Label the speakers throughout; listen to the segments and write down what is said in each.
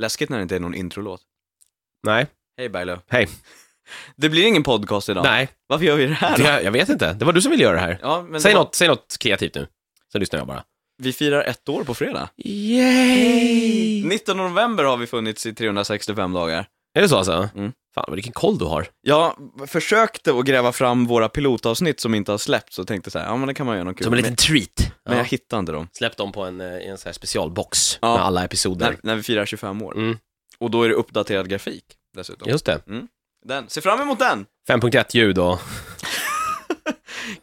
Speaker 1: Läskigt när det inte är någon introlåt.
Speaker 2: Nej.
Speaker 1: Hej Berglöf.
Speaker 2: Hej.
Speaker 1: Det blir ingen podcast idag.
Speaker 2: Nej.
Speaker 1: Varför gör vi det här då?
Speaker 2: Jag, jag vet inte. Det var du som ville göra det här.
Speaker 1: Ja, men
Speaker 2: Säg
Speaker 1: det var-
Speaker 2: något, säg något kreativt nu. Så lyssnar jag bara.
Speaker 1: Vi firar ett år på fredag.
Speaker 2: Yay!
Speaker 1: 19 november har vi funnits i 365 dagar.
Speaker 2: Är det så alltså?
Speaker 1: Mm.
Speaker 2: Fan, vilken koll du har.
Speaker 1: Jag försökte att gräva fram våra pilotavsnitt som inte har släppts och tänkte så här, ja men det kan man göra något kul.
Speaker 2: Som en liten
Speaker 1: men,
Speaker 2: treat.
Speaker 1: men jag
Speaker 2: Ja.
Speaker 1: hittade inte dem.
Speaker 2: Släpp dem på en, eh, i en så här specialbox
Speaker 1: Ja.
Speaker 2: med alla episoder.
Speaker 1: När, när vi firar 25 år.
Speaker 2: Mm.
Speaker 1: Och då är det uppdaterad grafik dessutom.
Speaker 2: Just det.
Speaker 1: Den. Se fram emot den!
Speaker 2: 5.1 ljud och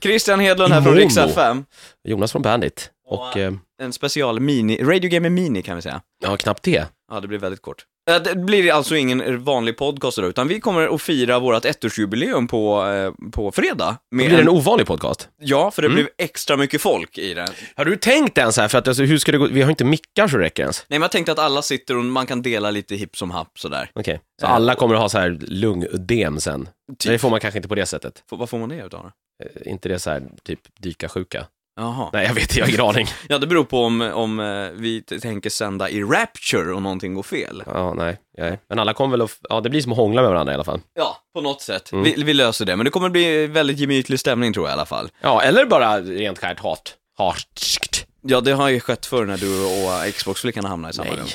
Speaker 1: Christian Hedlund här
Speaker 2: I
Speaker 1: från
Speaker 2: mono.
Speaker 1: Rix FM.
Speaker 2: Jonas från Bandit. Och, eh,
Speaker 1: En special mini, Radio Gamer Mini kan vi säga.
Speaker 2: ja, knappt det.
Speaker 1: Ja, det blir väldigt kort. Eh, Det blir alltså ingen vanlig podcast idag, utan vi kommer att fira vårt ettårsjubileum på, eh, på fredag.
Speaker 2: Det
Speaker 1: Med
Speaker 2: blir
Speaker 1: en-
Speaker 2: en ovanlig podcast.
Speaker 1: Ja, för det
Speaker 2: Mm.
Speaker 1: blev extra mycket folk i den.
Speaker 2: Har du tänkt ens här, för att alltså, hur ska det gå, vi har inte mickar så det räcker ens.
Speaker 1: Nej, men jag tänkte att alla sitter och man kan dela lite hipp som happ sådär.
Speaker 2: Okej, så
Speaker 1: Eh,
Speaker 2: alla kommer att ha så här lungödem sen.
Speaker 1: Typ.
Speaker 2: Det får man kanske inte på det sättet.
Speaker 1: F- vad får man det utav det?
Speaker 2: Eh, Inte det så här typ dyka sjuka.
Speaker 1: Jaha.
Speaker 2: Nej, jag vet, jag har ingen aning.
Speaker 1: Ja, det beror på om, om eh, vi t- tänker sända i Rapture och någonting går fel.
Speaker 2: Ja, nej, nej. Men alla kommer väl att, ja det blir som att hångla med varandra i alla fall.
Speaker 1: Ja, på något sätt.
Speaker 2: Mm.
Speaker 1: Vi, vi löser det, men det kommer bli väldigt gemytlig stämning tror jag i alla fall.
Speaker 2: Ja, eller bara rent skärt hat. Hatskt.
Speaker 1: Ja, det har ju skett förr när du och eh, Xbox-flickan hamnade i samma
Speaker 2: Nej.
Speaker 1: rum.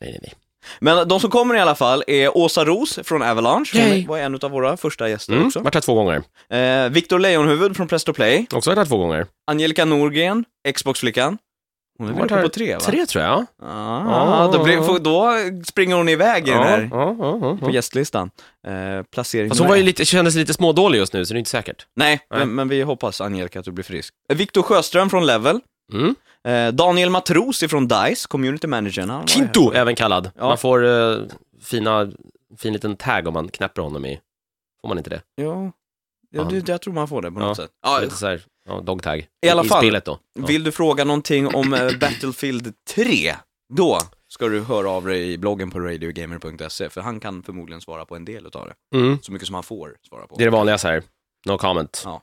Speaker 2: nej, nej, nej.
Speaker 1: Men de som kommer i alla fall är Åsa Ros från Avalanche,
Speaker 2: Yay.
Speaker 1: hon var en av våra första gäster
Speaker 2: Mm,
Speaker 1: också.
Speaker 2: varit här två gånger.
Speaker 1: Eh, Viktor Leijonhufvud från Presto Play,
Speaker 2: Också varit här två gånger.
Speaker 1: Angelica Norgren, Xbox-flickan. Hon är väl
Speaker 2: Hon har
Speaker 1: uppe på
Speaker 2: varit
Speaker 1: tre va?
Speaker 2: Tre tror jag.
Speaker 1: Ah, då, blir, får- då springer hon iväg i den här
Speaker 2: ja, ja,
Speaker 1: på gästlistan. Eh, placering
Speaker 2: Fast hon var ju
Speaker 1: nummer ett.
Speaker 2: lite, kändes lite smådålig just nu, så det är inte säkert.
Speaker 1: Nej,
Speaker 2: Nej.
Speaker 1: Men, men vi hoppas Angelica att du blir frisk. Eh, Viktor Sjöström från Level,
Speaker 2: Mm.
Speaker 1: eh, Daniel Matros ifrån DICE, community managern. han var här.
Speaker 2: Kinto, även kallad.
Speaker 1: Ja.
Speaker 2: Man får eh, fina, fin liten tag om man knäpper honom i. Får man inte det?
Speaker 1: Ja, ja det, jag tror man får det på
Speaker 2: Ja.
Speaker 1: något sätt. Ja,
Speaker 2: lite så här, ja, dog tag.
Speaker 1: I alla fall.
Speaker 2: I spelet då. Ja.
Speaker 1: Vill du fråga någonting om eh, Battlefield 3? Då ska du höra av dig i bloggen på radiogamer.se, för han kan förmodligen svara på en del av det.
Speaker 2: Mm.
Speaker 1: Så mycket som han får svara på.
Speaker 2: Det är det vanliga så här. No comment.
Speaker 1: Ja.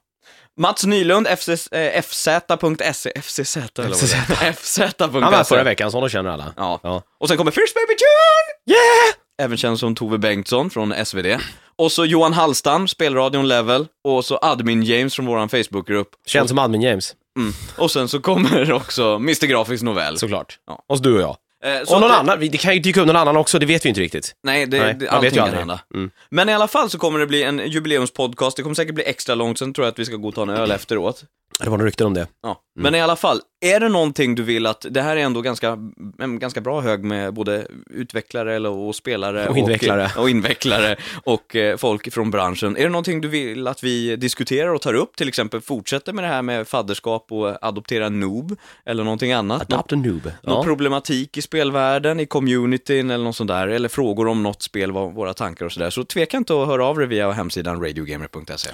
Speaker 1: Mats Nylund, FZ, eh, fz.se, FCZ eller vad
Speaker 2: FZ.
Speaker 1: det är. FZ.se.
Speaker 2: Han var här förra veckan, så honom känner alla.
Speaker 1: Ja.
Speaker 2: Ja.
Speaker 1: Och sen kommer First Baby June! Yeah! Även känd som Tove Bengtsson från SvD. Och så Johan Hallstam, Spelradion Level. Och så Admin James från vår Facebookgrupp.
Speaker 2: Känns som admin James,
Speaker 1: Mm. Och sen så kommer också Mr Grafisk Novell.
Speaker 2: såklart.
Speaker 1: Ja.
Speaker 2: Och så du och jag.
Speaker 1: Eh, så
Speaker 2: Och någon
Speaker 1: att-
Speaker 2: annan, det kan ju dyka upp någon annan också, det vet vi inte riktigt.
Speaker 1: Nej, det, det,
Speaker 2: Nej, man vet
Speaker 1: allting
Speaker 2: ju
Speaker 1: kan
Speaker 2: aldrig.
Speaker 1: hända.
Speaker 2: Mm.
Speaker 1: Men i alla fall så kommer det bli en jubileumspodcast, det kommer säkert bli extra långt, sen tror jag att vi ska gå och ta en öl efteråt.
Speaker 2: Det var några rykten om det.
Speaker 1: Ja.
Speaker 2: Mm.
Speaker 1: Men i alla fall, är det någonting du vill att, det här är ändå ganska, en ganska bra hög med både utvecklare eller, och spelare
Speaker 2: Och invecklare.
Speaker 1: och, och, invecklare och eh, folk från branschen. Är det någonting du vill att vi diskuterar och tar upp, till exempel fortsätter med det här med fadderskap och adoptera noob eller någonting annat?
Speaker 2: Adopt a noob.
Speaker 1: någon
Speaker 2: Ja.
Speaker 1: problematik i spelvärlden, i communityn eller något sånt där, eller frågor om något spel, vad våra tankar och sådär, så tveka inte att höra av dig via hemsidan radiogamer.se.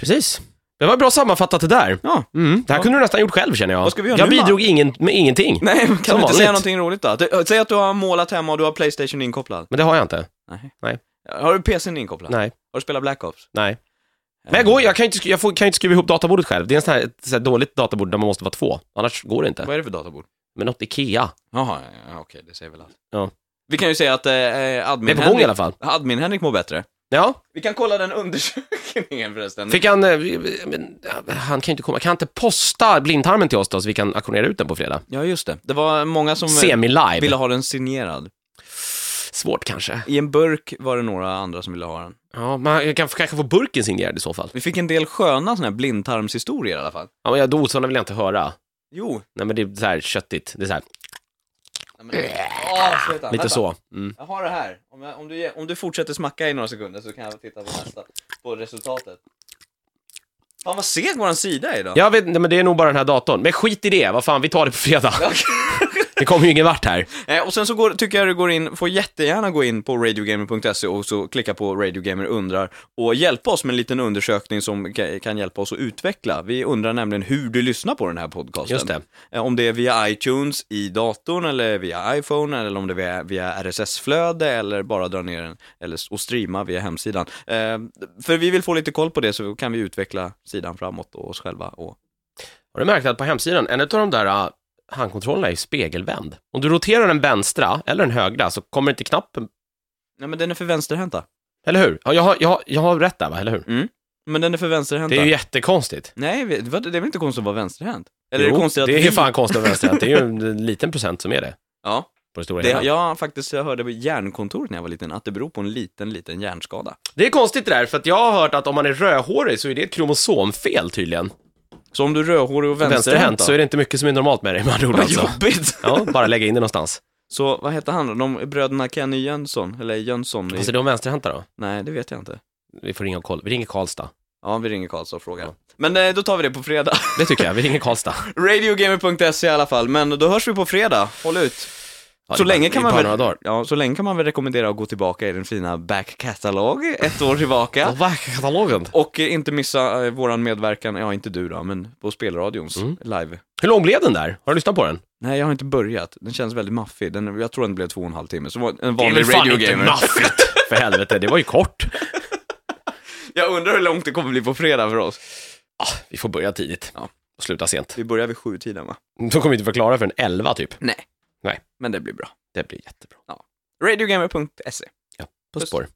Speaker 2: Precis. Det var bra sammanfattat det där.
Speaker 1: Ja,
Speaker 2: Mm. Det här kunde du nästan gjort själv känner jag.
Speaker 1: Vad ska vi göra
Speaker 2: jag
Speaker 1: nu,
Speaker 2: bidrog ingen, med ingenting.
Speaker 1: nej, men kan
Speaker 2: Som
Speaker 1: du inte säga
Speaker 2: vanligt.
Speaker 1: någonting roligt då? Att- äh, Säg att du har målat hemma och du har Playstation inkopplad.
Speaker 2: Men det har jag inte.
Speaker 1: Nej.
Speaker 2: Nej.
Speaker 1: Har du PCn inkopplad?
Speaker 2: Nej,
Speaker 1: Har du spelat Black Ops?
Speaker 2: nej. Men jag, går, jag, kan ju inte, sk- jag får, kan ju inte skruva ihop databordet själv. Det är en sån här, ett så här dåligt databord där man måste vara två. Annars går det inte.
Speaker 1: Vad är det för databord?
Speaker 2: Men något Ikea.
Speaker 1: Jaha, ja, ja, okej, det säger väl allt.
Speaker 2: Ja.
Speaker 1: Vi kan ju säga att eh, eh,
Speaker 2: Det är
Speaker 1: admin,
Speaker 2: på gång i alla
Speaker 1: Henrik,
Speaker 2: fall.
Speaker 1: admin Henrik mår bättre.
Speaker 2: Ja,
Speaker 1: Vi kan kolla den undersökningen förresten.
Speaker 2: Fick han, eh, men, eh, han kan ju inte komma, kan han inte posta blindtarmen till oss då så vi kan auktionera ut den på fredag?
Speaker 1: Ja, just det. Det var många som eh,
Speaker 2: Semi-live.
Speaker 1: ville ha den signerad.
Speaker 2: Svårt kanske.
Speaker 1: I en burk var det några andra som ville ha den.
Speaker 2: Ja, man jag kan kanske få burken signerad i så fall.
Speaker 1: Vi fick en del sköna såna här blindtarmshistorier i alla fall.
Speaker 2: Ja, men jag, dosorna vill jag inte höra.
Speaker 1: Jo.
Speaker 2: Nej men det är så här köttigt, det är så här,
Speaker 1: Nej, men... Åh, sluta.
Speaker 2: lite
Speaker 1: Vänta.
Speaker 2: så. Mm.
Speaker 1: Jag har det här. Om, jag, om, du, ge- om du fortsätter smacka i några sekunder så kan jag titta på nästa, på resultatet. Fan vad seg våran sida är idag.
Speaker 2: Jag vet inte, men det är nog bara den här datorn. Men skit i det, vad fan, vi tar det på fredag. Det kommer ju ingen vart här.
Speaker 1: Eh, och sen så går, tycker jag du går in, får jättegärna gå in på radiogamer.se och så klicka på radiogamer undrar och hjälpa oss med en liten undersökning som ka- kan hjälpa oss att utveckla. Vi undrar nämligen hur du lyssnar på den här podcasten.
Speaker 2: Just det.
Speaker 1: Eh, Om det är via iTunes i datorn eller via iPhone eller om det är via- via RSS-flöde eller bara dra ner den eller, s- och streama via hemsidan. Eh, för vi vill få lite koll på det så kan vi utveckla sidan framåt och oss själva. Och...
Speaker 2: Har du märkt att på hemsidan, en av de där handkontrollen är ju spegelvänd. Om du roterar den vänstra eller den högra så kommer inte knappen,
Speaker 1: Nej, men den är för vänsterhänta.
Speaker 2: eller hur? Ja, jag, har, jag, har, jag har rätt där va, eller hur?
Speaker 1: Men den är för vänsterhänta.
Speaker 2: Det är ju jättekonstigt.
Speaker 1: Nej, vi- vad- det är väl inte konstigt att vara vänsterhänt? Eller är
Speaker 2: Jo,
Speaker 1: det konstigt att
Speaker 2: det är
Speaker 1: vi...
Speaker 2: ju fan konstigt att vänsterhänt. Det är ju en liten procent som är det,
Speaker 1: Ja,
Speaker 2: på det stora
Speaker 1: det,
Speaker 2: hela.
Speaker 1: jag har faktiskt jag hörde på hjärnkontoret när jag var liten att det beror på en liten, liten hjärnskada.
Speaker 2: Det är konstigt det där, för att jag har hört att om man är rödhårig så är det ett kromosomfel tydligen.
Speaker 1: Så om du är rödhårig och vänsterhänt
Speaker 2: Vänsterhänt så är det inte mycket som är normalt med dig med andra ord
Speaker 1: Vad
Speaker 2: alltså.
Speaker 1: jobbigt!
Speaker 2: Ja, bara lägga in det någonstans.
Speaker 1: Så vad hette han då? De bröderna Kenny Jönsson, eller Jönsson? i-
Speaker 2: Fast är de vänsterhänta då?
Speaker 1: Nej, det vet jag inte.
Speaker 2: Vi får ringa och kolla. Vi ringer Karlstad.
Speaker 1: Ja, vi ringer Karlsson och frågar. Men eh, då tar vi det på fredag.
Speaker 2: Det tycker jag. Vi ringer Karlstad.
Speaker 1: Radiogamer.se i alla fall, men då hörs vi på fredag. Håll ut!
Speaker 2: Ja,
Speaker 1: Så
Speaker 2: det är
Speaker 1: länge
Speaker 2: bara-
Speaker 1: kan
Speaker 2: det
Speaker 1: man
Speaker 2: är bara
Speaker 1: väl-
Speaker 2: några dagar.
Speaker 1: Ja, så länge kan man väl rekommendera att gå tillbaka i den fina back catalog ett år tillbaka.
Speaker 2: Och Back-katalogen.
Speaker 1: Och eh, inte missa eh, våran medverkan, ja inte du då, men på spelradions
Speaker 2: Mm.
Speaker 1: live.
Speaker 2: Hur lång blev den där? Har du lyssnat på den?
Speaker 1: Nej, jag har inte börjat. Den känns väldigt maffig. Den, jag tror den blev två och en halv timme, så det var en
Speaker 2: Det är
Speaker 1: vanlig
Speaker 2: väl fan inte
Speaker 1: radiogamer.
Speaker 2: maffigt. För helvete, det var ju kort.
Speaker 1: Jag undrar hur långt det kommer bli på fredag för oss.
Speaker 2: Ah, Vi får börja tidigt.
Speaker 1: Ja.
Speaker 2: Och sluta sent.
Speaker 1: Vi börjar vid sjutiden va?
Speaker 2: Då kommer vi inte förklara förrän 11 typ.
Speaker 1: Nej.
Speaker 2: Nej.
Speaker 1: Men det blir bra.
Speaker 2: Det blir jättebra.
Speaker 1: Radiogamer.se
Speaker 2: På
Speaker 1: Puss.
Speaker 2: spår.